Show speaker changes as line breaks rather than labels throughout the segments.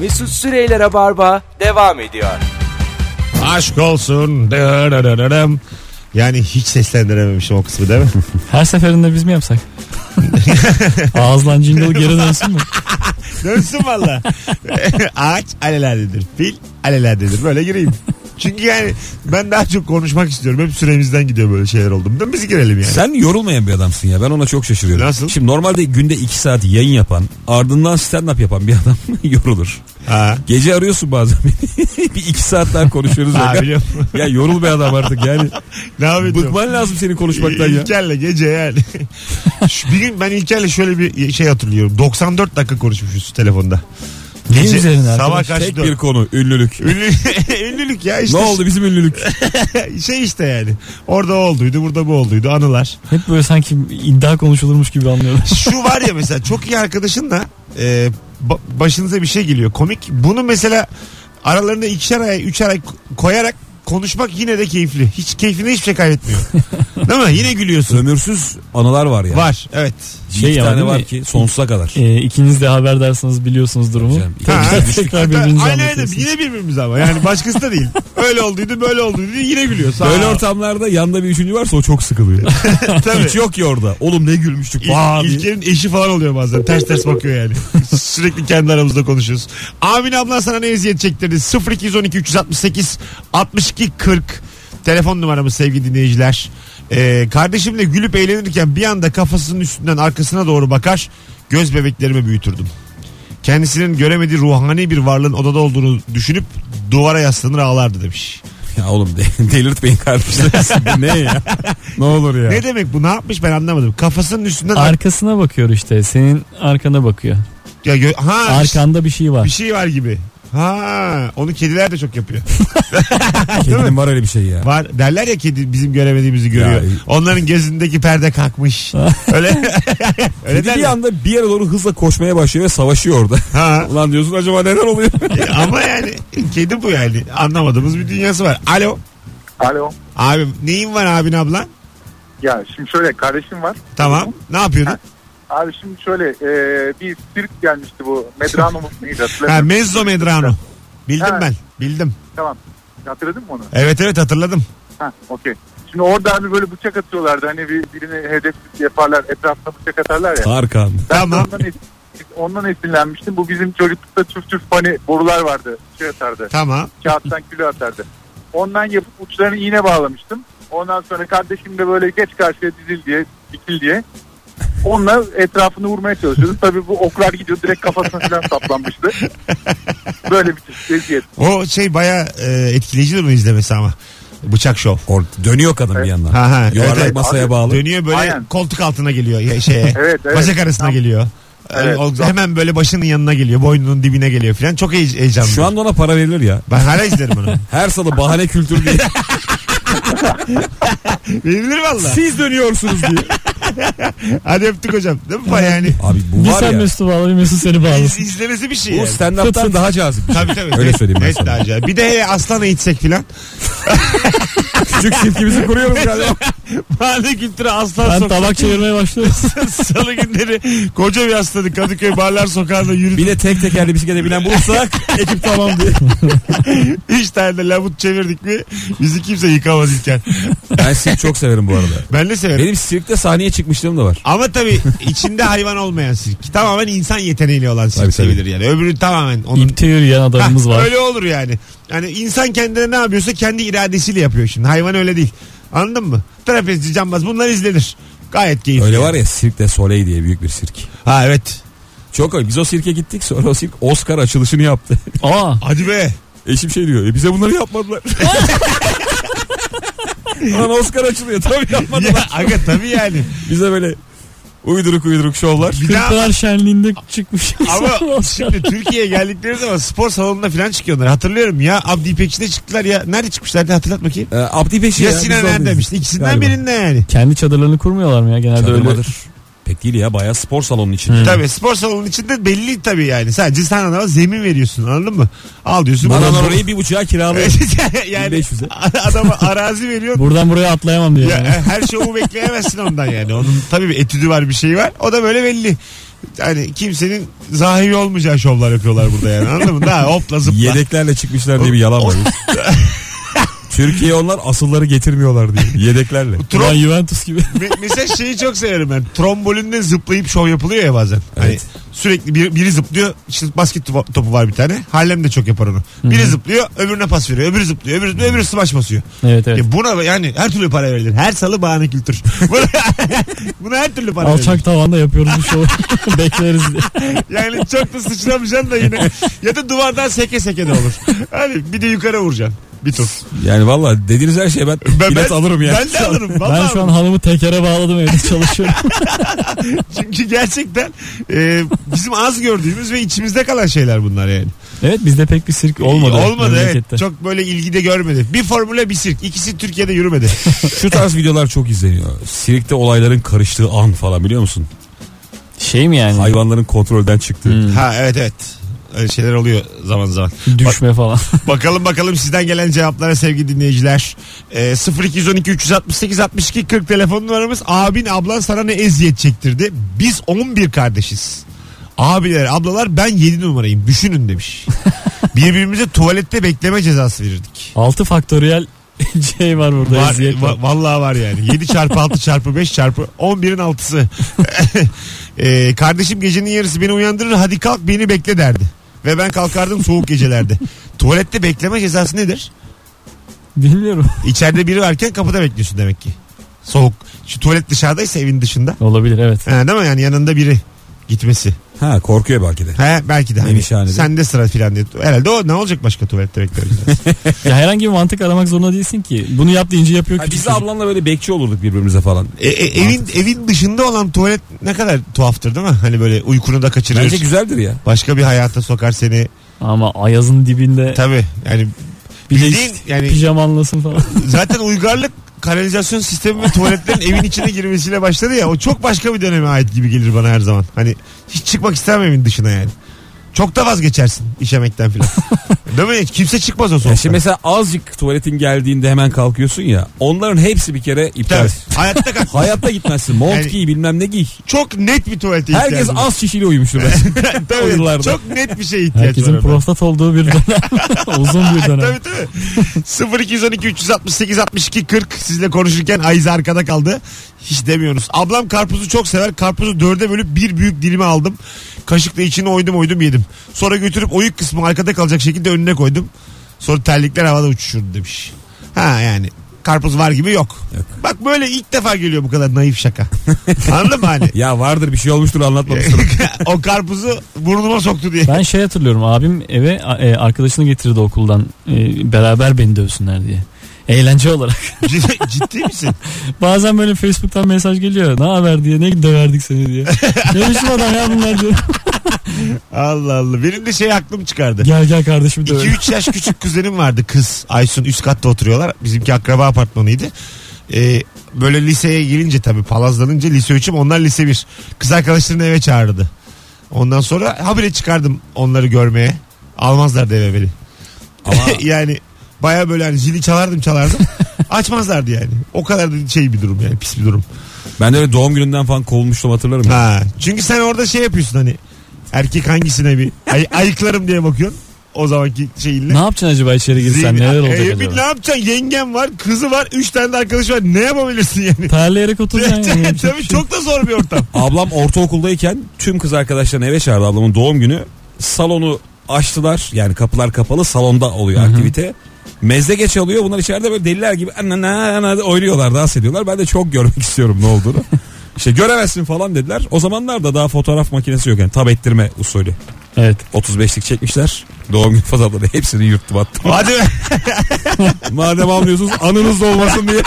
Mesut Süreyler'e barba devam ediyor.
Aşk olsun. Dırırırırım. Yani hiç seslendirememişim o kısmı değil mi?
Her seferinde biz mi yapsak? Ağızdan jingle geri dönsün mü?
Dönsün valla. Ağaç aleladedir. Fil aleladedir. Böyle gireyim. Çünkü yani ben daha çok konuşmak istiyorum. Hep süremizden gidiyor böyle şeyler oldu. Değil mi? Biz girelim yani.
Sen yorulmayan bir adamsın ya. Ben ona çok şaşırıyorum.
Nasıl?
Şimdi normalde günde 2 saat yayın yapan, ardından stand-up yapan bir adam yorulur.
Ha.
Gece arıyorsun bazen beni. bir 2 saat daha konuşuyoruz.
Ha,
ya.
biliyorum.
ya yorul be adam artık yani.
Ne yapıyorsun?
Bıkman lazım senin konuşmaktan ya.
İlker'le gece yani. Şu bir gün ben İlker'le şöyle bir şey hatırlıyorum. 94 dakika konuşmuşuz telefonda.
Ne
Gece-
üzerine
Sabah
arkadaş?
kaç
Tek bir konu ünlülük.
Ünlü, ünlülük ya işte.
Ne oldu bizim ünlülük?
Şey işte yani. Orada o olduydu, burada bu olduydu. Anılar.
Hep böyle sanki iddia konuşulurmuş gibi anlıyorum.
Şu var ya mesela çok iyi arkadaşınla e, ba- başınıza bir şey geliyor komik. Bunu mesela aralarında ikişer ay, üçer ay koyarak konuşmak yine de keyifli. Hiç keyfine hiçbir şey kaybetmiyor. Değil mi? Yine gülüyorsun.
Sömürsüz anılar var ya.
Var. Evet.
Bir
Şey
iki
ama
tane
değil
var
mi?
ki sonsuza kadar.
Ee, ikiniz de haberdarsınız biliyorsunuz durumu.
Hocam,
Ha.
ikimiz de düştük.
Tekrar
Hatta
birbirinizi
aynen öyle.
anlatıyorsunuz.
Yine birbirimiz ama. Yani başkası da değil. Öyle olduydu, böyle olduydu diye yine gülüyorsun.
Böyle
Ha.
ortamlarda yanda bir üçüncü varsa o çok sıkılıyor.
Tabii.
Hiç yok ya orada. Oğlum ne gülmüştük. Vaa
İl,
diye.
İlker'in eşi falan oluyor bazen. Ters ters bakıyor yani. Sürekli kendi aramızda konuşuyoruz. Amin abla sana ne eziyet çektirdi? 0212 368 62 40 telefon numaramız sevgili dinleyiciler. Ee, kardeşimle gülüp eğlenirken bir anda kafasının üstünden arkasına doğru bakar göz bebeklerimi büyütürdüm. Kendisinin göremediği ruhani bir varlığın odada olduğunu düşünüp duvara yaslanır ağlardı demiş.
Ya oğlum de- delirtmeyin kardeşlerinizi. Bu ne ya? Ne olur ya.
Ne demek bu ne yapmış ben anlamadım. Kafasının üstünden ar-
Arkasına bakıyor işte. Senin arkana bakıyor.
ya, gö- ha,
Arkanda bir şey
Bir
var.
şey var gibi. Ha, onu kediler de çok yapıyor.
Kedinin var öyle bir şey ya.
Var derler ya kedi bizim göremediğimizi görüyor.
Ya.
Onların gözündeki perde kalkmış. Öyle. Öyle
Kedi bir
derler.
anda bir yere doğru hızla koşmaya başlıyor ve savaşıyor orada.
Ha.
şey- Ulan diyorsun acaba neden oluyor?
Ama yani kedi bu yani. Anlamadığımız bir dünyası var. Alo.
Alo.
Abim neyin var abin ablan?
Ya şimdi şöyle kardeşim var.
Tamam. Ne yapıyordun?
Abi şimdi şöyle e, bir sirk gelmişti bu. Medrano mu neydi
Ha,
hatırlamıyorum.
Mezzo Medrano. Bildim
Ha.
ben. Bildim.
tamam. Hatırladın mı onu?
Evet evet hatırladım.
Ha okey. Şimdi orada abi böyle bıçak atıyorlardı. Hani bir, birini hedef yaparlar. Etrafına bıçak atarlar ya.
Tarkan.
Ben
Tamam.
Ondan, es- ondan esinlenmiştim. Bu bizim çocuklukta çüf çüf hani borular vardı. Şey atardı.
Tamam.
Kağıttan külü atardı. Ondan yapıp uçlarını iğne bağlamıştım. Ondan sonra kardeşim de böyle geç karşıya dizil diye, dikil diye. Onunla etrafını vurmaya çalışıyordu. Tabii bu oklar gidiyor direkt kafasına falan saplanmıştı. Böyle bir çeşit eziyet.
O şey baya etkileyici bunu izlemesi ama. Bıçak şov.
Or dönüyor kadın bir yandan.
Ha, ha,
Yuvarlak
evet, evet.
masaya
Abi,
bağlı.
Dönüyor böyle
Aynen.
koltuk altına geliyor ya şeye.
Evet, evet.
Bacak arasına
Tam-
geliyor. Ee,
Evet,
o-
tam.
hemen böyle başının yanına geliyor. Boynunun dibine geliyor filan. Çok heye- heyecanlı.
Şu anda ona para verilir ya.
ben hala izlerim onu.
Her salı bahane kültür diye.
Verilir valla.
Siz dönüyorsunuz diye.
Hadi öptük hocam. Değil mi? Baya yani
Abi bu
Bir
var
sen
ya.
Mesut'u bağla bir Mesut seni
iz,
bağlasın.
izlemesi bir şey.
Bu
Yani.
stand-up'tan daha cazip. şey.
Tabii tabii.
Öyle söyleyeyim ben
Net
sana.
daha acayip. Bir de hele aslanla içsek filan.
Küçük silkimizi kuruyoruz galiba.
Bahane kültürü aslan
Ben
sokağı.
tabak çevirmeye başlıyorum.
Salı günleri koca bir aslanı Kadıköy Barlar Sokağı'nda yürüdük.
Bir de tek tekerli bisiklete binen bulursak ekip tamam diye.
Hiç tane de labut çevirdik mi bizi kimse yıkamaz İlker.
Ben sirk çok severim bu arada.
Ben de severim.
Benim sirkte sahneye çıkmışlığım da var.
Ama tabii içinde hayvan olmayan sirk. Tamamen insan yeteneğiyle olan sirk
Tabii, tabii.
sayılır yani. Öbürü tamamen onun...
İpte yürüyen adamımız
Hah,
var.
Öyle olur yani. Yani insan kendine ne yapıyorsa kendi iradesiyle yapıyor şimdi. Hayvan öyle değil. Anladın mı? Trapezci, cambaz bunlar izlenir. Gayet keyifli.
Öyle var ya sirkte Soleil diye büyük bir sirk.
Ha evet.
Çok öyle. Biz o sirke gittik sonra o sirk Oscar açılışını yaptı.
Aa
Hadi be.
Eşim şey diyor e bize bunları yapmadılar. Lan Oscar açılıyor tabii
Ya,
yapmadılar.
aga tabii yani.
bize böyle uyduruk uyduruk şovlar.
Bir daha-
Kırklar şenliğinde çıkmış.
Ama şimdi Türkiye'ye geldikleri zaman spor salonunda falan çıkıyorlar. Hatırlıyorum ya Abdi İpekçi'de çıktılar ya. Nerede çıkmışlardı hatırlat bakayım.
Ee, Abdi Peşi
Ya, Sinan
biz de oradayız.
Erdem'mişti. İkisinden
Galiba.
birinde yani.
Kendi çadırlarını kurmuyorlar mı ya genelde
Çadır
öyle?
madır. Pek değil ya bayağı spor salonunun içinde.
Tabii spor salonunun içinde belli tabii yani. Sadece sen adama zemin veriyorsun anladın mı? Al diyorsun.
Bana
Buradan-
orayı bir buçuğa kiralıyor.
yani
1500'e.
adama arazi veriyor. e,
Buradan buraya
e,
atlayamam diyor.
Ya, her şovu bekleyemezsin ondan yani. Onun tabii bir etüdü var bir şey var. O da böyle belli. hani kimsenin zahiri olmayacağı şovlar yapıyorlar burada yani anladın mı? Daha hopla zıpla.
Yedeklerle çıkmışlar diye bir yalan var. Türkiye onlar asılları getirmiyorlar diye. Yedeklerle.
Trom-
Ulan Juventus gibi.
Me- mesela şeyi çok severim ben. Trombolinde zıplayıp şov yapılıyor ya bazen. Hani
Evet.
sürekli bir, biri zıplıyor. İşte basket topu- topu var bir tane. Hallem de çok yapar onu. Biri zıplıyor öbürüne pas veriyor. Öbürü zıplıyor öbürü zıplıyor öbürü smaç basıyor.
Evet evet.
Ya buna yani her türlü para verilir. Her salı bahane kültür. Buna, buna her türlü para verilir.
Alçak tavanda yapıyoruz bu şovu. Bekleriz diye.
Yani çok da sıçramayacaksın da yine. Ya da duvardan seke seke de olur. Hani bir de yukarı vuracaksın. Bir tur.
Yani valla dediğiniz her şeye ben,
Ben,
bilet
ben-
alırım yani.
Ben de alırım. Vallahi
Ben şu an hanımı tekere bağladım evde çalışıyorum.
Çünkü gerçekten e, bizim az gördüğümüz ve içimizde kalan şeyler bunlar yani.
evet bizde pek bir sirk olmadı.
Olmadı
memlekette.
evet. Çok böyle ilgi de görmedi. Bir formüle bir sirk. İkisi Türkiye'de yürümedi.
Şu tarz videolar çok izleniyor. Sirkte olayların karıştığı an falan biliyor musun?
Şey mi yani?
Hayvanların kontrolden çıktığı.
Hmm,
ha evet evet. Öyle şeyler oluyor zaman zaman.
düşme falan.
Bakalım bakalım sizden gelen cevaplara sevgili dinleyiciler. E, 0212 368 62 40 telefon numaramız. Abin ablan sana ne eziyet çektirdi? Biz 11 kardeşiz. Abiler ablalar ben 7 numarayım. Düşünün demiş. Birbirimize tuvalette bekleme cezası verirdik.
6 faktöriyel şey var burada.
Var,
eziyet var.
va- vallahi var yani. 7 çarpı 6 çarpı 5 çarpı 11'in 6'sı. Ee, kardeşim gecenin yarısı beni uyandırır hadi kalk beni bekle derdi. Ve ben kalkardım soğuk gecelerde. Tuvalette bekleme cezası nedir?
Bilmiyorum.
İçeride biri varken kapıda bekliyorsun demek ki. Soğuk. Şu tuvalet dışarıdaysa evin dışında.
Olabilir evet.
Ha, değil mi yani yanında biri gitmesi.
Ha korkuyor belki de.
He, belki de hani,
Menişhanede.
sende sıra filan diye. Herhalde o ne olacak başka tuvalette beklemek cezası?
Ya herhangi bir mantık aramak zorunda değilsin ki. Bunu yap deyince yapıyor
Ha,
küçük
biz de
çocuk.
ablanla böyle bekçi olurduk birbirimize falan.
E, e, evin, evin dışında olan tuvalet ne kadar tuhaftır değil mi? Hani böyle uykunu da kaçırır.
Bence güzeldir ya.
Başka bir hayata sokar seni.
Ama ayazın dibinde
Tabi yani
bir de
bildiğin
işte
yani
pijamanlasın falan.
zaten uygarlık kanalizasyon sistemi ve tuvaletlerin evin içine girmesiyle başladı ya. O çok başka bir döneme ait gibi gelir bana her zaman. Hani hiç çıkmak istemem evin dışına yani. Çok da vazgeçersin işemekten filan. Değil mi? Hiç Kimse çıkmaz o
Ya
sonuçta.
şimdi mesela azıcık tuvaletin geldiğinde hemen kalkıyorsun ya. Onların hepsi bir kere iptal.
Hayatta kalk.
Hayatta gitmezsin. Mont
Yani-
giy bilmem ne giy.
Çok net bir tuvalete
Herkes
ihtiyacın var.
az şişiyle uyumuştur. ben.
Tabii,
o yıllarda.
Çok net bir şeye ihtiyaç var.
Herkesin
orada.
prostat olduğu bir dönem. Uzun bir dönem.
Tabii tabii. 0212 368 62 40 sizle konuşurken Ayza arkada kaldı. Hiç demiyorsunuz. Ablam karpuzu çok sever. Karpuzu dörde bölüp bir büyük dilimi aldım. Kaşıkla içine oydum oydum yedim. Sonra götürüp oyuk kısmı arkada kalacak şekilde önüne koydum. Sonra terlikler havada uçuşurdu demiş. Ha yani karpuz var gibi yok. Bak böyle ilk defa geliyor bu kadar naif şaka. Anladın mı hani?
ya vardır bir şey olmuştur anlatmamıştır.
o karpuzu burnuma soktu diye.
Ben şey hatırlıyorum abim eve a- e, arkadaşını getirdi okuldan e, beraber beni dövsünler diye. Eğlence olarak.
Ciddi misin?
Bazen böyle Facebook'tan mesaj geliyor. Ne haber diye. Ne döverdik seni diye. ne biçim adam ya bunlar diye.
Allah Allah. Benim de şey aklım çıkardı.
Gel gel kardeşim dövelim.
2-3 yaş küçük kuzenim vardı kız. Aysun üst katta oturuyorlar. Bizimki akraba apartmanıydı. Ee, böyle liseye girince tabii palazlanınca lise 3'üm onlar lise 1. Kız arkadaşlarını eve çağırdı. Ondan sonra habire çıkardım onları görmeye. Almazlardı eve beni.
Ama
yani baya böyle hani zili çalardım çalardım. Açmazlardı yani. O kadar da şey bir durum yani pis bir durum.
ben de öyle doğum gününden falan kovulmuştum hatırlarım. ya.
Ha, çünkü sen orada şey yapıyorsun hani erkek hangisine bir ay- ayıklarım diye bakıyorsun. O zamanki şeyinle.
Ne yapacaksın acaba içeri girsen
Zeynep-
neler olacak
Ee, bir Ne
acaba?
yapacaksın? Yengem var, kızı var, üç tane de arkadaş var. Ne yapabilirsin yani?
Terleyerek oturacaksın yani. yapacak bir
Tabii
şey yok.
çok da zor bir ortam.
Ablam ortaokuldayken tüm kız arkadaşlarını eve çağırdı ablamın doğum günü. Salonu açtılar yani kapılar kapalı salonda oluyor aktivite. Mezlege çalıyor bunlar içeride böyle deliler gibi ana, ana, ana oynuyorlar dans ediyorlar. Ben de çok görmek istiyorum ne olduğunu. İşte göremezsin falan dediler. O zamanlar da daha fotoğraf makinesi yok yani tab ettirme usulü.
Evet.
35'lik çekmişler. Doğum günü fotoğrafları hepsini yırttım attım.
Hadi be.
Madem almıyorsunuz anınız da olmasın diye.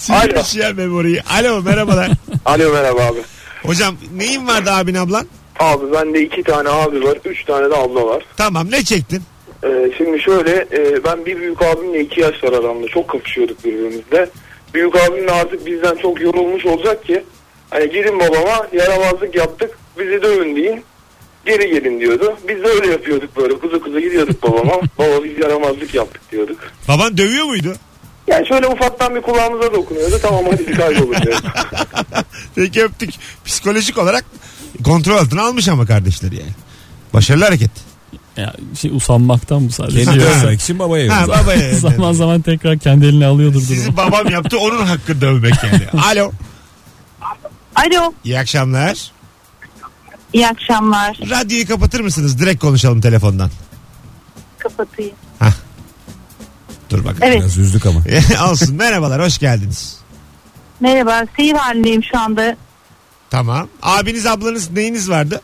Silmiş ya memoriyi. Alo merhabalar.
Alo merhaba abi.
Hocam neyin vardı abin ablan?
Abi bende iki tane abi var, üç tane de abla var.
Tamam ne çektin?
Ee, şimdi şöyle, e, ben bir büyük abimle iki yaş var aramda. Çok kapışıyorduk birbirimizle. Büyük abim de artık bizden çok yorulmuş olacak ki. Hani gidin babama, yaramazlık yaptık, bizi dövün deyin. Geri gelin diyordu. Biz de öyle yapıyorduk böyle. Kuzu kuzu gidiyorduk babama. Baba biz yaramazlık yaptık diyorduk.
Baban dövüyor muydu?
Yani şöyle ufaktan bir kulağımıza dokunuyordu. Tamam hadi bir kayboluyor.
Peki öptük. Psikolojik olarak Kontrol altına almış ama kardeşleri yani. Başarılı hareket.
Ya, şey, usanmaktan bu sadece.
Kendi
Biliyorsun.
dövmek için babaya
Ha
yollar.
babaya.
zaman zaman tekrar kendi eline alıyordur durumu.
Sizi babam yaptı onun hakkı dövmek yani. Alo.
Alo,
İyi akşamlar.
iyi akşamlar.
Radyoyu kapatır mısınız? Direkt konuşalım telefondan.
Kapatayım.
Dur bakalım.
Evet,
Biraz üzdük ama.
Olsun. Merhabalar. Hoş geldiniz.
merhaba. Seyir halindeyim şu anda.
Tamam. Abiniz ablanız neyiniz vardı?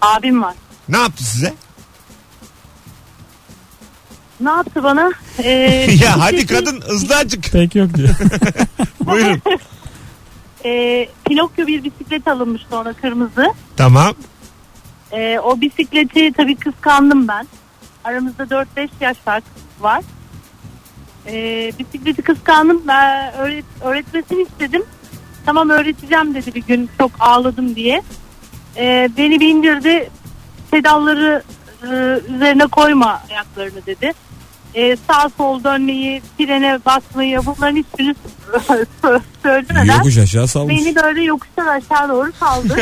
Abim var.
Ne yaptı size?
Ne yaptı bana? Ee,
ya hadi
bisiklet-
kadın hızlı acık.
Pek yok diyor.
Buyurun.
Ee, Pinokyo bir bisiklet alınmıştı ona kırmızı.
Tamam.
Ee, o bisikleti tabii kıskandım ben. Aramızda 4-5 yaş fark var. Ee, bisikleti kıskandım. Ben öğret, öğretmesini istedim. Tamam öğreteceğim dedi bir gün çok ağladım diye. Ee, beni bindirdi. Pedalları e, üzerine koyma ayaklarını dedi. Ee, sağ sol dönmeyi, frene basmayı bunların hiçbirini söylemeden
Yokuş aşağı salmış.
beni böyle yokuştan aşağı doğru saldı.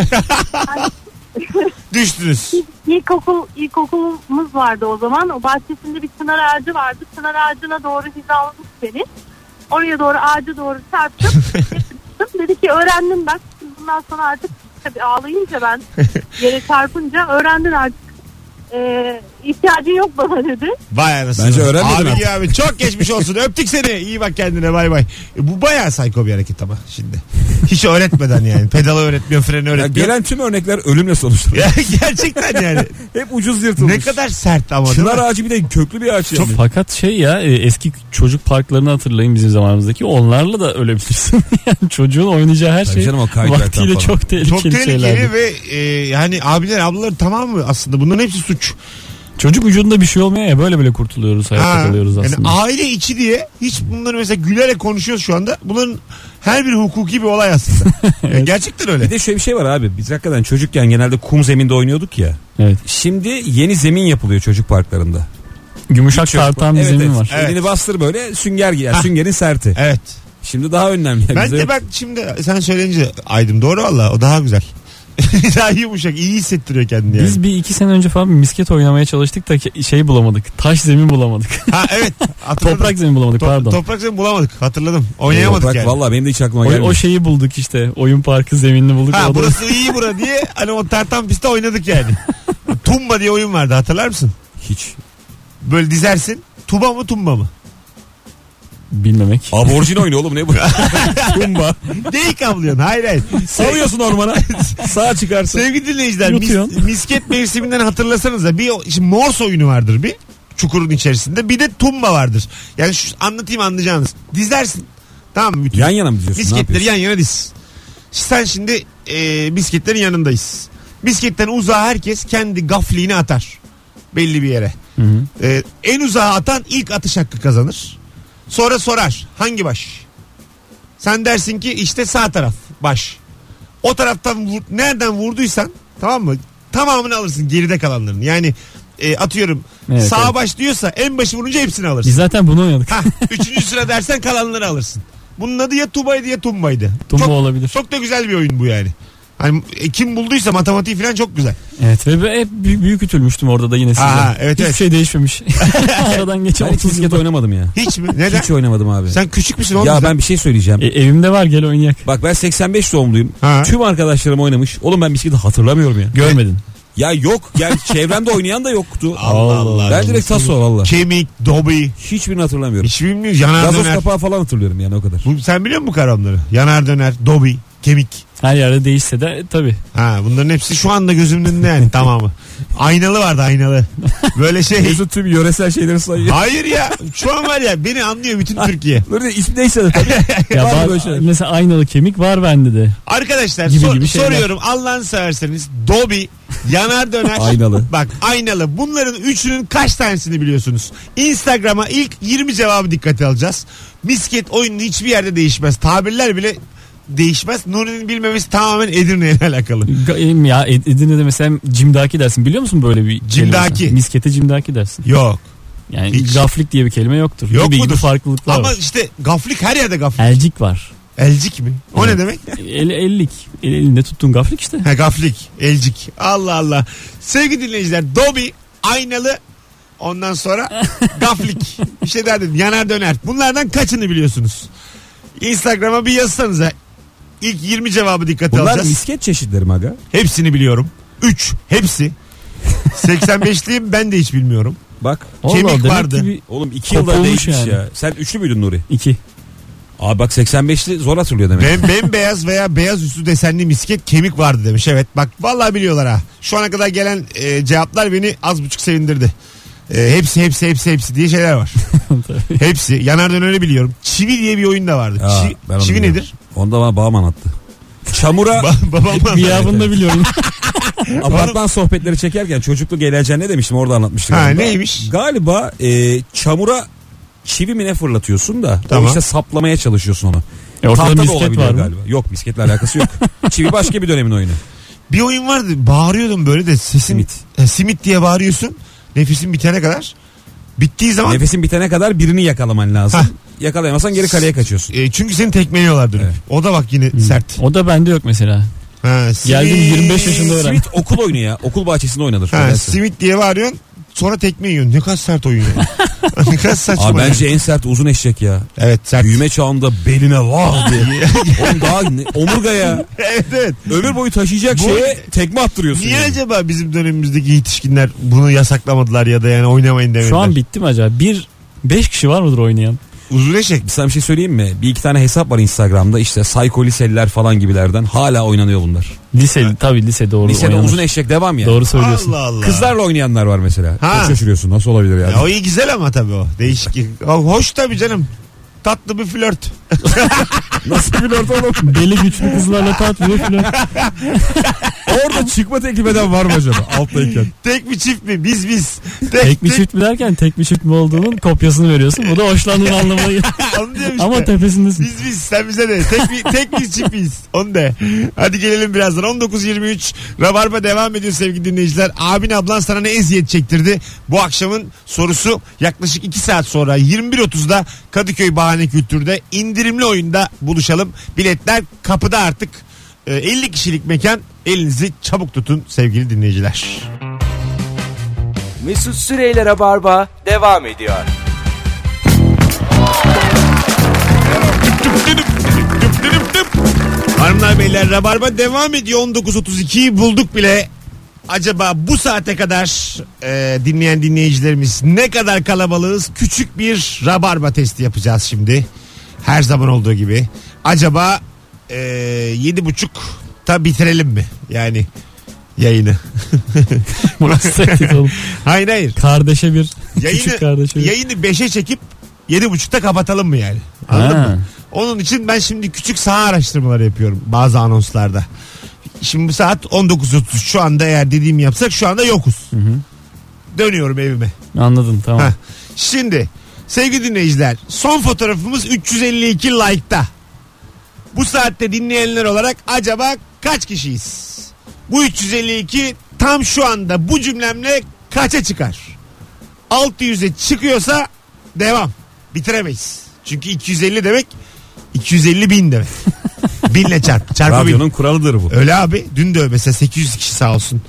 Düştünüz.
İlkokul, ilkokulumuz vardı o zaman. O bahçesinde bir çınar ağacı vardı. Çınar ağacına doğru hizalamış beni. Oraya doğru ağaca doğru çarptım. Çarptım. dedi ki öğrendim bak. Bundan sonra artık tabii ağlayınca ben yere çarpınca öğrendin artık. Ee, ihtiyacın yok bana dedi.
Vay anasını.
Bence öğrenmedin
Abi
artık.
ya abi çok geçmiş olsun. Öptük seni. İyi bak kendine bay bay. E, Bu bayağı sayko bir hareket ama şimdi. Hiç öğretmeden yani. Pedalı öğretmiyor, freni
Ya
öğretmiyor.
gelen tüm örnekler ölümle sonuçlanıyor.
Ya gerçekten yani.
Hep ucuz yırtılmış.
ne kadar sert ama değil mi?
Çınar ağacı bir de köklü bir ağaç yani.
Fakat şey ya e, eski çocuk parklarını hatırlayın bizim zamanımızdaki. Onlarla da ölebilirsin. yani çocuğun oynayacağı her
Tabii
şey
canım, o kaydıraktan
vaktiyle
falan.
çok tehlikeli,
Çok tehlikeli
şeylerdi.
ve e, yani abiler ablalar tamam mı aslında bunların hepsi suç.
Çocuk vücudunda bir şey olmuyor ya böyle böyle kurtuluyoruz hayatta
Ha,
kalıyoruz
yani
aslında.
aile içi diye hiç bunları mesela gülerek konuşuyoruz şu anda. Bunların her bir hukuki bir olay aslında. Yani gerçekten öyle.
Bir de şöyle bir şey var abi. Biz hakikaten çocukken genelde kum zeminde oynuyorduk ya.
evet.
Şimdi yeni zemin yapılıyor çocuk parklarında.
Gümüşak
Çocuk-
tartan bir
Evet,
zemin
evet.
var.
Evet.
Elini bastır böyle sünger gi- yani süngerin serti.
Evet.
Şimdi daha önemli.
Ben
Bize-
de ben şimdi sen söyleyince aydım doğru valla o daha güzel. daha yumuşak iyi hissettiriyor kendini yani.
Biz bir iki sene önce falan bir misket oynamaya çalıştık da ke- şey bulamadık. Taş zemin bulamadık.
Ha evet hatırladım.
Toprak zemin bulamadık
To-
pardon.
Toprak zemin bulamadık hatırladım. Oynayamadık
Toprak,
yani.
Valla benim de hiç aklıma
O,
gelmedi.
o şeyi bulduk işte. Oyun parkı zeminini bulduk.
Ha
O da-
burası iyi bura diye hani o tartan pistte oynadık yani. Tumba diye oyun vardı hatırlar mısın?
Hiç.
Böyle dizersin. Tuba mı tumba mı?
bilmemek.
Aborjin oynuyor oğlum ne bu? Kumba.
Neyi kablıyorsun? Hayır hayır.
Savuyorsun ormana. Sağa çıkarsın.
Sevgili dinleyiciler mis,
Yutuyorsun.
misket mevsiminden hatırlasanıza bir o- şimdi morse oyunu vardır bir çukurun içerisinde bir de tumba vardır. Yani şu anlatayım anlayacağınız. Dizlersin tamam mı? Bütün
Yan yana mı diyorsun? Ne
misketleri
yapıyorsun?
Şey- yan yana diz. Sen şimdi e, misketlerin yanındayız. Misketten uzağa herkes kendi gafliğini atar belli bir yere.
Hı hı.
E, en uzağa atan ilk atış hakkı kazanır. Sonra sorar hangi baş? Sen dersin ki işte sağ taraf baş. O taraftan vur- nereden vurduysan tamam mı? Tamamını alırsın geride kalanların. Yani e, atıyorum
Evet,
sağ
evet.
baş diyorsa en başı vurunca hepsini alırsın.
Biz zaten bunu oynadık.
Hah, üçüncü sıra dersen kalanları alırsın. Bunun adı ya Tuba'ydı ya Tumba'ydı.
Tumba
çok,
olabilir.
çok da güzel bir oyun bu yani. Hani e, kim bulduysa matematiği falan çok güzel.
Evet ve ben hep büyük, büyük ütülmüştüm orada da yine size.
Aa, evet,
Hiçbir
evet.
şey değişmemiş. Aradan geçen
Ben hiç
30
misket
yıl.
oynamadım ya.
Hiç mi? Neden?
Hiç oynamadım abi.
Sen küçük müsün oğlum?
ya
sen?
ben bir şey söyleyeceğim.
E, evimde var gel oynayak.
Bak ben 85 doğumluyum.
Ha.
Tüm arkadaşlarım oynamış. Oğlum ben bisikleti hatırlamıyorum ya.
Görmedin.
Ya yok. Yani çevremde oynayan da yoktu.
Allah Allah.
Ben direkt taso valla.
Kemik, dobi.
Hiçbirini hatırlamıyorum.
Hiç bilmiyoruz. Yanar
Gazoz
döner.
kapağı falan hatırlıyorum yani o kadar.
şey Bu, sen biliyor musun bu kavramları? Yanar döner, dobi, kemik.
Her yerde değişse de e, tabii.
Ha, bunların hepsi şu anda gözümün önünde yani tamamı. Aynalı vardı aynalı. Böyle şey.
Mesut tüm yöresel şeyleri sayıyor.
Hayır ya. Şu an var ya beni anlıyor bütün Türkiye.
Böyle ismi neyse de tabii.
Ya
Var mı
var-
böyle şeyler?
mesela aynalı kemik var bende de.
Arkadaşlar
Gibi
sor-
gibi şeyler.
soruyorum Allah'ını severseniz Dobi, Yanar Döner
Aynalı.
Bak aynalı bunların üçünün kaç tanesini biliyorsunuz? Instagram'a ilk 20 cevabı dikkate alacağız. Misket oyunu hiçbir yerde değişmez. Tabirler bile değişmez. Nuri'nin bilmemesi tamamen Edirne ile alakalı.
Ga- Ya Ed- Edirne'de mesela cimdaki dersin biliyor musun böyle bir kelime?
Cimdaki.
Miskete cimdaki dersin.
Yok.
Yani
Hiç.
gaflik diye bir kelime yoktur.
Yok
gibi gibi
mudur?
farklılıklar
Ama
var.
işte gaflik her yerde gaflik.
Elcik var.
Elcik mi? O ne demek?
El, ellik. El, elinde tuttuğun gaflik işte.
Ha gaflik, elcik. Allah Allah. Sevgili dinleyiciler, Dobi, aynalı, ondan sonra gaflik. Bir şey daha dedim. Yanar döner. Bunlardan kaçını biliyorsunuz? Instagram'a bir yazsanıza. İlk 20 cevabı dikkate
Bunlar
alacağız.
misket çeşitleri mi aga.
Hepsini biliyorum. 3 hepsi. 85'liyim ben de hiç bilmiyorum.
Bak.
Allah
Kemik
Allah, demek
vardı.
ki bir
Oğlum 2 yılda
Kopulmuş
değişmiş
yani.
ya. Sen üçlü müydün Nuri?
iki.
Abi bak 85'li zor hatırlıyor demek.
Ben bembeyaz veya beyaz üstü desenli misket kemik vardı demiş. Evet bak vallahi biliyorlar ha. Şu ana kadar gelen e, cevaplar beni az buçuk sevindirdi. E, hepsi hepsi hepsi hepsi diye şeyler var.
Tabii.
Hepsi. Yanardan öyle biliyorum. Çivi diye bir oyun da vardı.
Aa,
Çi-
ben onu
çivi
bilmiyorum.
nedir?
Onu da bana babam anlattı. Çamura
Ba- babam
Gıyabını da biliyorum.
apartman sohbetleri çekerken çocukluk eğlencen ne demiştim orada anlatmıştım.
Ha,
galiba.
neymiş?
Galiba e, çamura çivi mi ne fırlatıyorsun da
Tamam.
o işte saplamaya çalışıyorsun onu.
E, ortada
Tahta da
misket
olabiliyor
var mı?
galiba. Yok misketle alakası yok. çivi başka bir dönemin oyunu.
Bir oyun vardı. Bağırıyordum böyle de sesin.
Simit.
E, simit diye bağırıyorsun. Nefesin bitene kadar. Bittiği zaman
Nefesin bitene kadar birini yakalaman lazım.
Hah.
Yakalayamazsan geri kaleye kaçıyorsun.
E, çünkü seni tekmeliyorlar dönüp.
Evet.
O da bak yine sert.
O da bende yok mesela.
Ha,
Hmm. Geldim
simit.
25 yaşında öğrendim.
Simit okul oyunu ya. Okul bahçesinde oynanır.
Ha,
Nedense.
simit diye bağırıyorsun. Sonra tekme yiyorsun. Ne kadar sert oyun ya. ne kadar saçma.
Abi
ya.
bence en sert uzun eşek ya.
Evet sert.
Büyüme çağında beline var diye. Oğlum daha ne- omurgaya
evet evet.
ömür boyu taşıyacak
Bu-
şeye tekme attırıyorsun.
Niye
yani.
acaba bizim dönemimizdeki yetişkinler bunu yasaklamadılar ya da yani oynamayın demediler.
Şu an bitti mi acaba? Bir, beş kişi var mıdır oynayan?
Uzun eşek.
Bir sana bir şey söyleyeyim mi? Bir iki tane hesap var Instagram'da işte psycho liseler falan gibilerden hala oynanıyor bunlar.
Lise, tabii lise doğru
Lisede
oynanır.
uzun eşek devam ya.
Doğru söylüyorsun.
Allah Allah.
Kızlarla oynayanlar var mesela.
Ha.
Çok şaşırıyorsun nasıl olabilir yani.
Ya o iyi güzel ama tabii o. Değişik. O hoş tabii canım. Tatlı bir flört.
Nasıl bir ortam oğlum?
Beli güçlü kızlarla tatlı falan.
Orada çıkma teklif eden var mı acaba alttayken?
Tek mi çift mi? Biz biz. Tek,
Tek mi çift mi derken tek mi çift mi olduğunun kopyasını veriyorsun. Bu da hoşlandığın anlamına geliyor.
Onu diyorum işte.
Ama tepesindesin.
Biz biz sen bize de tek bir tek biz çift biz. Onu de. Hadi gelelim birazdan 19.23 Rabarba devam ediyor sevgili dinleyiciler. Abin ablan sana ne eziyet çektirdi? Bu akşamın sorusu yaklaşık 2 saat sonra 21.30'da Kadıköy Bahane Kültür'de indirimli oyunda buluşalım. Biletler kapıda artık. Ee, 50 kişilik mekan elinizi çabuk tutun sevgili dinleyiciler.
Mesut Süreyler'e barba devam ediyor.
Düp düp düp. Hanımlar beyler Rabarba devam ediyor 19.32 bulduk bile. Acaba bu saate kadar e, dinleyen dinleyicilerimiz ne kadar kalabalığız? Küçük bir Rabarba testi yapacağız şimdi. Her zaman olduğu gibi. Acaba e, 7.30'da bitirelim mi? Yani yayını.
Burası tehdit oğlum.
Hayır hayır.
Kardeşe bir. Küçük
Yayını,
kardeşe bir.
yayını 5'e çekip 7.30'da kapatalım mı yani? Anladın
Ha.
mı? Onun için ben şimdi küçük saha araştırmaları yapıyorum bazı anonslarda. Şimdi bu saat 19.30 şu anda eğer dediğimi yapsak şu anda yokuz. Dönüyorum evime.
Anladım tamam.
Heh. Şimdi sevgili dinleyiciler son fotoğrafımız 352 like'ta. Bu saatte dinleyenler olarak acaba kaç kişiyiz? Bu 352 tam şu anda bu cümlemle kaça çıkar? 600'e çıkıyorsa devam. Bitiremeyiz. Çünkü 250 demek 250 bin demek. Binle çarp. Çarpı bin.
Radyonun kuralıdır bu.
Öyle abi. Dün de mesela 800 kişi sağ olsun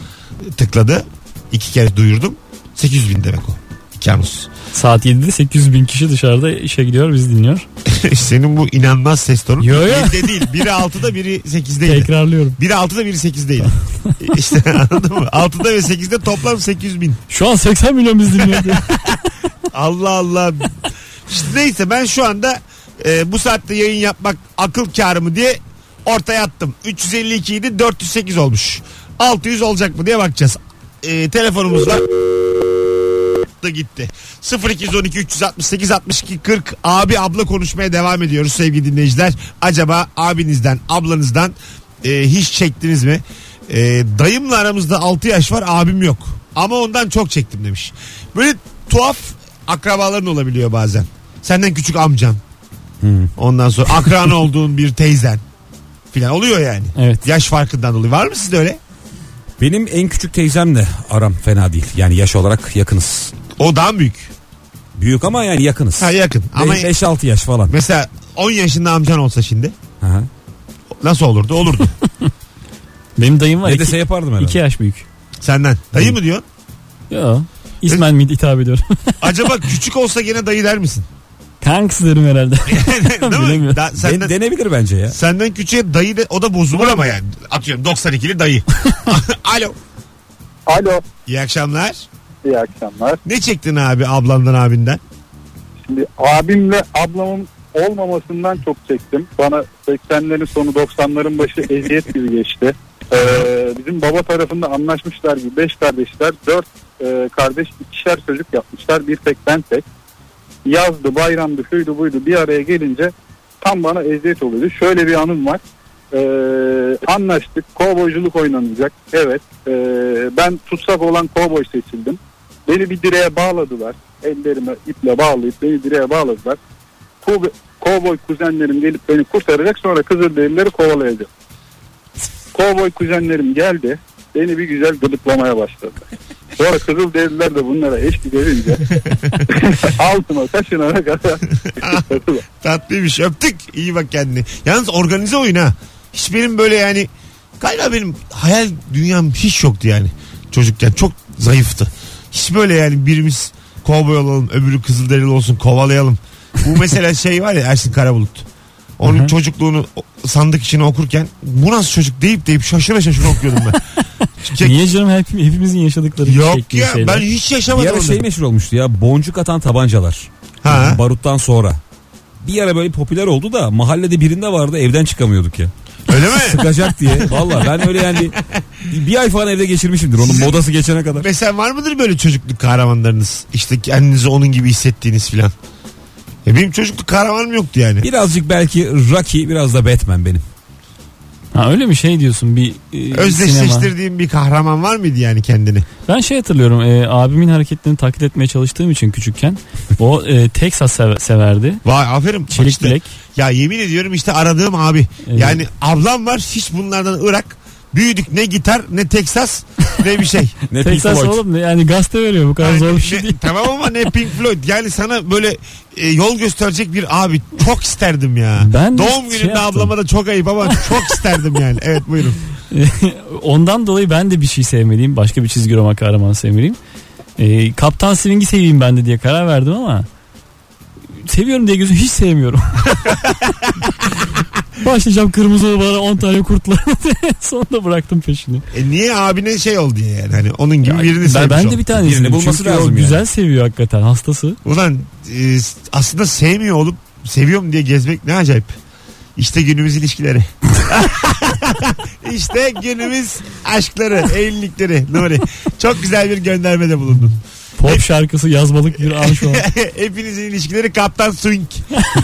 tıkladı. İki kere duyurdum. 800 bin demek o. İki anons.
Saat 7'de 800 bin kişi dışarıda işe gidiyor biz dinliyor.
Senin bu inanmaz ses tonun.
Yo, yo.
Yedide değil. Biri 6'da biri 8'deydi.
Tekrarlıyorum.
Biri 6'da biri 8'deydi. işte anladın mı? 6'da ve 8'de toplam 800 bin.
Şu an 80 milyon biz dinliyor. diyor.
Allah Allah. İşte neyse ben şu anda e, bu saatte yayın yapmak akıl kârı mı diye ortaya attım. 352 idi 408 olmuş. 600 olacak mı diye bakacağız. E, telefonumuz var. da gitti. 0212 368 62 40 abi abla konuşmaya devam ediyoruz sevgili dinleyiciler. Acaba abinizden ablanızdan e, hiç çektiniz mi? E, dayımla aramızda 6 yaş var abim yok. Ama ondan çok çektim demiş. Böyle tuhaf akrabaların olabiliyor bazen. Senden küçük amcan. Ondan sonra akran olduğun bir teyzen filan oluyor yani.
Evet.
Yaş farkından dolayı. Var mı sizde öyle?
Benim en küçük teyzemle aram fena değil. Yani yaş olarak yakınız.
O daha mı büyük.
Büyük ama yani yakınız.
Ha yakın. Ama
Ama 5-6 yaş falan.
mesela 10 yaşında amcan olsa şimdi.
Aha.
Nasıl olurdu? Olurdu.
Benim dayım var.
Ne
iki,
dese yapardım herhalde.
iki yaş büyük.
Senden. Dayı mı diyor?
Yo. İsmen mi hitap ediyorum.
Acaba küçük olsa gene dayı der misin?
Kanks derim herhalde.
Değil mi? Da,
Bilemiyorum.
Den-
senden,
denebilir bence ya.
senden küçüğe dayı de, o da bozulur ama yani. Atıyorum 92'li dayı. Alo.
Alo.
İyi akşamlar.
İyi akşamlar.
Ne çektin abi ablandan abinden?
Şimdi abimle ablamın olmamasından çok çektim. Bana 80'lerin sonu 90'ların başı eziyet gibi geçti. Ee, bizim baba tarafında anlaşmışlar gibi 5 kardeşler 4 kardeş ikişer çocuk yapmışlar. Bir tek ben tek. Yazdı bayramdı şuydu buydu bir araya gelince tam bana eziyet oluyordu. Şöyle bir anım var. Ee, anlaştık kovboyculuk oynanacak. Evet ee, ben tutsak olan kovboy seçildim. Beni bir direğe bağladılar. Ellerime iple bağlayıp beni direğe bağladılar. Ko- Kovboy kuzenlerim gelip beni kurtaracak sonra Kızılderilileri kovalayacak. Kovboy kuzenlerim geldi. Beni bir güzel gıdıklamaya başladı. Sonra Kızılderililer de bunlara eşlik edince altıma kaçınana kadar
Tatlıymış öptük. İyi bak kendine. Yalnız organize oyun ha. Hiç benim böyle yani galiba benim hayal dünyam hiç yoktu yani. Çocukken çok zayıftı. Hiç böyle yani birimiz kovboy olalım öbürü kızılderili olsun kovalayalım. Bu mesela şey var ya Ersin Karabulut. Onun çocukluğunu o- sandık içine okurken bu nasıl çocuk deyip deyip şaşıra şaşıra okuyordum ben. Çünkü-
Niye canım hep, hepimizin yaşadıkları
Yok
şekli
ya
şeyler.
ben hiç
Bir
yaşamadım
ara
onu.
şey meşhur olmuştu ya boncuk atan tabancalar.
Ha.
Baruttan sonra. Bir ara böyle popüler oldu da mahallede birinde vardı evden çıkamıyorduk ya.
Öyle mi?
Sıkacak diye. Valla ben öyle yani bir, bir ay falan evde geçirmişimdir onun modası geçene kadar.
Mesela var mıdır böyle çocukluk kahramanlarınız? İşte kendinizi onun gibi hissettiğiniz filan. Ya benim çocukluk kahramanım yoktu yani.
Birazcık belki Rocky biraz da Batman benim.
Ha, öyle mi şey diyorsun bir e, sinema.
Özdeşleştirdiğim bir kahraman var mıydı yani kendini?
Ben şey hatırlıyorum e, abimin hareketlerini taklit etmeye çalıştığım için küçükken o e, Texas seve- severdi.
Vay aferin. Bak
Çelik
işte-
bilek.
Ya yemin ediyorum işte aradığım abi.
Evet.
Yani ablam var hiç bunlardan ırak. Büyüdük ne gitar ne Texas ne bir şey.
Ne Pink
Texas
Floyd.
oğlum ne yani gazete veriyor bu kadar
Yani
zor bir
ne-
şey değil.
tamam ama ne Pink Floyd. Yani sana böyle e, yol gösterecek bir abi çok isterdim ya.
Ben de
Doğum
şey
gününde
yaptım.
ablama da çok ayıp ama çok isterdim yani. Evet buyurun.
Ondan dolayı ben de bir şey sevmeliyim. Başka bir çizgi roman kahramanı sevmeliyim. E, Kaptan Swing'i seveyim ben de diye karar verdim ama seviyorum diye gözüm hiç sevmiyorum. Başlayacağım kırmızı obada 10 tane kurtla. Sonunda bıraktım peşini.
E niye abine şey oldu diye yani hani onun gibi
Ya,
birini
ben,
sevmiş
ben
ol.
de bir tanesini.
Birini bulması
Çünkü
lazım
o
yani.
güzel seviyor hakikaten hastası.
Ulan e, aslında sevmiyor olup seviyorum diye gezmek ne acayip. İşte günümüz ilişkileri. işte günümüz aşkları, evlilikleri. Nuri. Çok güzel bir göndermede bulundun.
Pop şarkısı yazmalık bir an şu an.
Hepinizin ilişkileri Kaptan Swing.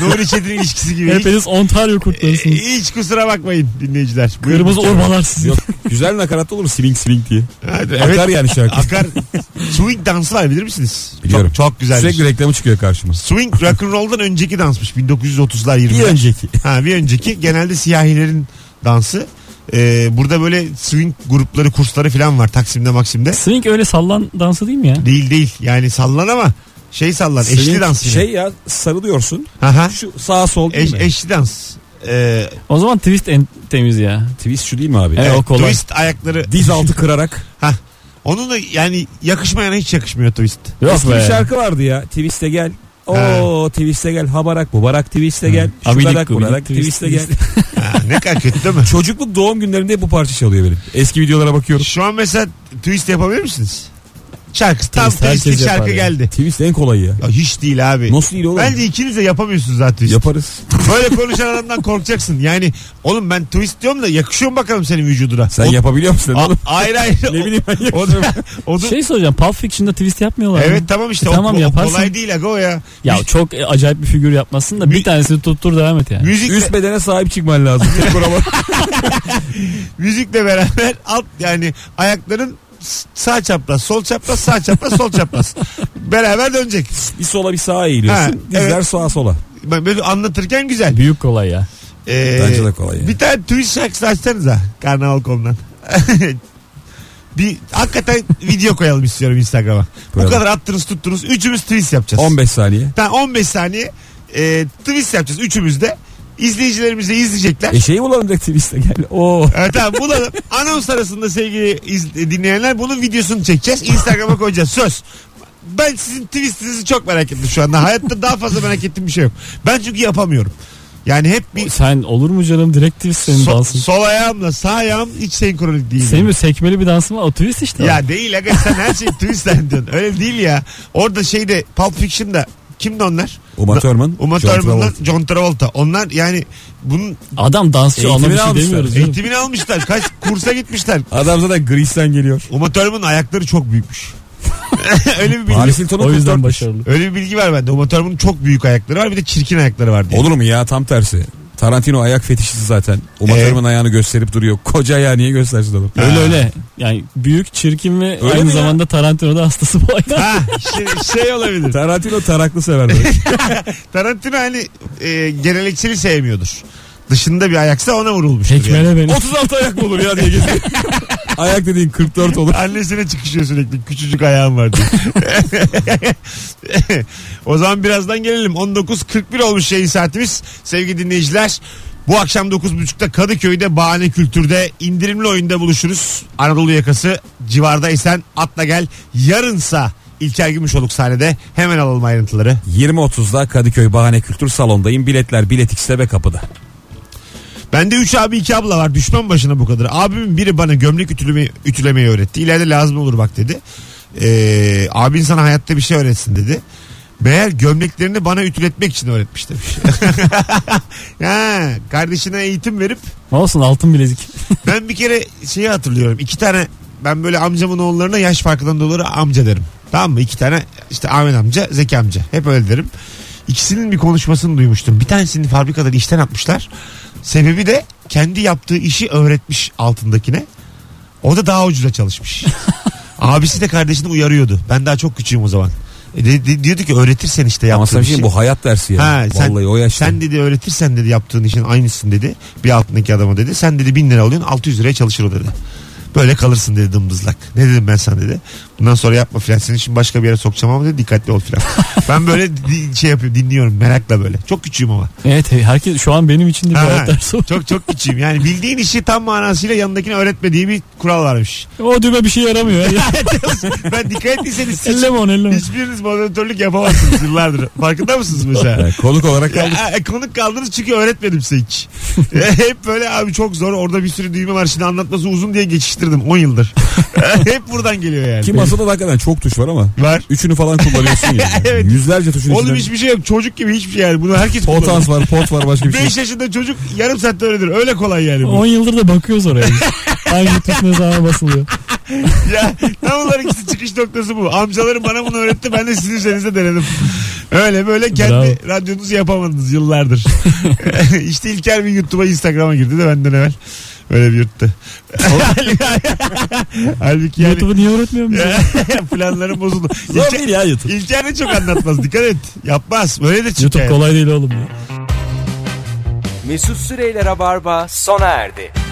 Nuri Çetin ilişkisi gibi. Hiç,
Hepiniz Ontario kurtlarısınız.
hiç kusura bakmayın dinleyiciler. Buyurun.
Kırmızı ormalar sizi.
Yok güzel nakarat olur mu? swing swing diye.
Hadi,
Akar
evet.
yani şarkı.
Akar. Swing dansı var bilir misiniz?
Biliyorum.
Çok, çok güzel.
Sürekli reklamı çıkıyor karşıma.
Swing rock'n'roll'dan önceki dansmış. 1930'lar 20'ler.
Bir önceki.
Ha bir önceki genelde siyahilerin dansı. Ee, burada böyle swing grupları kursları falan var Taksim'de Maksim'de.
Swing öyle sallan dansı değil mi ya?
Değil değil yani sallan ama şey sallan eşli
Swing
dans yine.
Şey ya sarılıyorsun.
Aha.
Şu sağ sol değil
Eş,
mi?
eşli dans. Ee,
O zaman twist en temiz ya.
Twist şu değil mi abi?
Evet.
evet,
o kolay.
twist ayakları.
Diz altı kırarak.
Hah. Onun da yani yakışmayana hiç yakışmıyor twist.
Yok
Eski bir
be.
şarkı vardı ya. Twist'e gel.
Ha.
Oo twist'e gel. Habarak bubarak twist'e gel.
Abidik
Şubarak
gubidik
burarak
twist,
twist'e gel.
Ha, ne kadar kötü değil mi?
Çocukluk doğum günlerinde hep bu parça çalıyor benim. Eski videolara bakıyorum.
Şu an mesela twist yapabilir misiniz? Şarkı tam
Twist herkes
twistli şarkı
yapar ya.
geldi.
Twist en kolayı ya.
Ya hiç değil abi.
Nasıl değil oğlum?
Bence ikiniz de yapamıyorsunuz zaten twist.
Yaparız.
Böyle konuşan adamdan korkacaksın. Yani oğlum ben twist diyorum da yakışıyor mu bakalım senin vücuduna?
Sen
O-
yapabiliyor musun
A-
oğlum?
Hayır hayır.
Ne bileyim ben
O, o, o da-
Şey soracağım Pulp Fiction'da twist yapmıyorlar mı?
evet tamam işte
E,
o-
tamam,
o,
yaparsın.
kolay değil aga o ya.
Ya
Müz-
çok e, acayip bir figür yapmasın da
Mü-
bir tanesini tuttur devam et yani.
müzikle,
Üst bedene sahip çıkman lazım.
müzikle beraber alt yani ayakların s- sağ çapraz sol çapraz sağ çapraz sol çapraz beraber dönecek.
bir sola bir sağa
Ha,
eğiliyorsun. Dizler
evet.
sağa sola.
Ben böyle anlatırken güzel.
Büyük kolay ya.
Ee,
Bence de kolay yani.
Bir tane twist şarkısı açsanız ha karnaval.com'dan. bir hakikaten video koyalım istiyorum Instagram'a. Bu
Koyalım.
kadar attınız tuttunuz. Üçümüz twist yapacağız.
15 saniye.
Tamam 15 saniye e, twist yapacağız üçümüz de. İzleyicilerimiz de izleyecekler.
E şeyi bulalım direkt Twist'e gel. Oo.
Evet tamam bulalım. Anons arasında sevgili iz- dinleyenler bunun videosunu çekeceğiz. Instagram'a koyacağız. Söz. Ben sizin twistinizi çok merak ettim şu anda. Hayatta daha fazla merak ettiğim bir şey yok. Ben çünkü yapamıyorum. Yani hep bir
Sen olur mu canım direkt twist senin
so-
dansın.
sol ayağımla sağ ayağım hiç senkronik değil.
Senin bir sekmeli bir dansın var o twist işte. o.
Ya değil aga sen her şey twist'ten diyorsun. Öyle değil ya. Orada şeyde Pulp Fiction'da kimdi onlar?
Uma Thurman.
Uma
John
Thurman'la
Travolta.
John Travolta. Onlar yani bunun
Adam dansçı
Eğitimini
ona bir şey
almışlar.
demiyoruz. canım.
eğitimini almışlar. Kaç kursa gitmişler.
Adam zaten Greece'den geliyor.
Uma Thurman'ın ayakları çok büyükmüş. Öyle bir bilgi.
Paris Hilton'u
O yüzden
kurtarmış.
başarılı.
Öyle bir bilgi var bende. Uma Thurman'ın çok büyük ayakları var bir de çirkin ayakları var diye.
Olur mu ya tam tersi. Tarantino ayak fetişisi zaten. Uma
Ee?
Thurman ayağını gösterip duruyor. Koca ayağı niye göstersin adam?
Öyle öyle. Yani büyük, çirkin ve
Öyle mi
aynı
ya?
zamanda Tarantino'da hastası bu ayda.
Ha, şey, şey olabilir.
Tarantino taraklı sever. böyle.
Tarantino hani e, gelenekçiliği sevmiyordur. Dışında bir ayaksa ona vurulmuştur. yani.
Tekmele beni.
36 ayak mı olur ya diye geziyor. ayak dediğin 44 olur.
Annesine çıkışıyor sürekli. Küçücük ayağım var diye. o zaman birazdan gelelim. 19.41 olmuş yayın saatimiz. Sevgili dinleyiciler bu akşam 9.30'da Kadıköy'de Bahane Kültür'de indirimli oyunda buluşuruz. Anadolu yakası civardaysan atla gel. Yarınsa İlker Gümüşoluk sahnede hemen alalım ayrıntıları.
20.30'da Kadıköy Bahane Kültür Salonu'ndayım. Biletler Bilet X'te ve kapıda.
Bende 3 abi 2 abla var düşman başına bu kadar. Abimin biri bana gömlek ütüleme, ütülemeyi öğretti. İleride lazım olur bak dedi. Ee, abin sana hayatta bir şey öğretsin dedi. Meğer gömleklerini bana ütületmek için öğretmiş demiş. ha, kardeşine eğitim verip
Olsun altın bilezik.
ben bir kere şeyi hatırlıyorum. İki tane ben böyle amcamın oğullarına yaş farkından dolayı amca derim. Tamam mı? İki tane işte Ahmet amca, Zeki amca. Hep öyle derim. İkisinin bir konuşmasını duymuştum. Bir tanesini fabrikadan işten atmışlar. Sebebi de kendi yaptığı işi öğretmiş altındakine. O da daha ucuza çalışmış. Abisi de kardeşini uyarıyordu. Ben daha çok küçüğüm o zaman. E de- de- diyordu ki öğretirsen işte
Ama
yaptığın
sana bir
işi.
şey bu hayat dersi ya.
Ha, sen-
Vallahi o yaşta.
Sen dedi öğretirsen dedi yaptığın işin aynısın dedi. Bir altındaki adama dedi. Sen dedi bin lira alıyorsun 600 liraya çalışır o dedi. Böyle kalırsın dedi dımdızlak. Ne dedim ben sana dedi. Bundan sonra yapma filan. Seni şimdi başka bir yere sokacağım ama dedi dikkatli ol filan. ben böyle di- şey yapıyorum dinliyorum merakla böyle. Çok küçüğüm ama.
Evet e, herkes şu an benim için de bir
Ha,
hayat dersi oldu.
Çok çok küçüğüm. Yani bildiğin işi tam manasıyla yanındakine öğretme diye bir kural varmış.
O düğme bir şey yaramıyor. ya.
ben dikkat ettiyseniz hiç,
elleme onu elleme.
hiçbiriniz moderatörlük yapamazsınız yıllardır. Farkında mısınız mesela?
Yani konuk olarak kaldık.
Ya, e, konuk kaldınız çünkü öğretmedim size hiç. E, Hep böyle abi çok zor orada bir sürü düğme var şimdi anlatması uzun diye geçiştirdim 10 yıldır. E, Hep buradan geliyor yani.
Ki masada da hakikaten çok tuş var ama.
Var.
Üçünü falan kullanıyorsun ya.
Evet.
Yüzlerce tuşun
Oğlum
içinden-
hiçbir şey yok çocuk gibi hiçbir şey yani bunu herkes
Potans var, pot var başka bir şey.
5 yaşında çocuk yarım saatte öğrenir öyle kolay yani. bu.
10 yıldır da bakıyoruz oraya. biz. Hangi tuş ne zaman basılıyor.
ya tam olarak ikisi çıkış noktası bu. Amcalarım bana bunu öğretti ben de sizin üzerinizde denedim. Öyle böyle kendi
Bravo.
radyonuzu yapamadınız yıllardır. işte İlker bir YouTube'a Instagram'a girdi de benden evvel. Öyle bir yurtta. Halbuki yani
YouTube'u niye öğretmiyor bize?
planlarım bozuldu.
Zor
İlker,
değil ya YouTube.
İlker de çok anlatmaz dikkat et. Yapmaz. Böyle de çıkıyor.
YouTube kolay değil oğlum ya.
Mesut Süreyler'e barba sona erdi.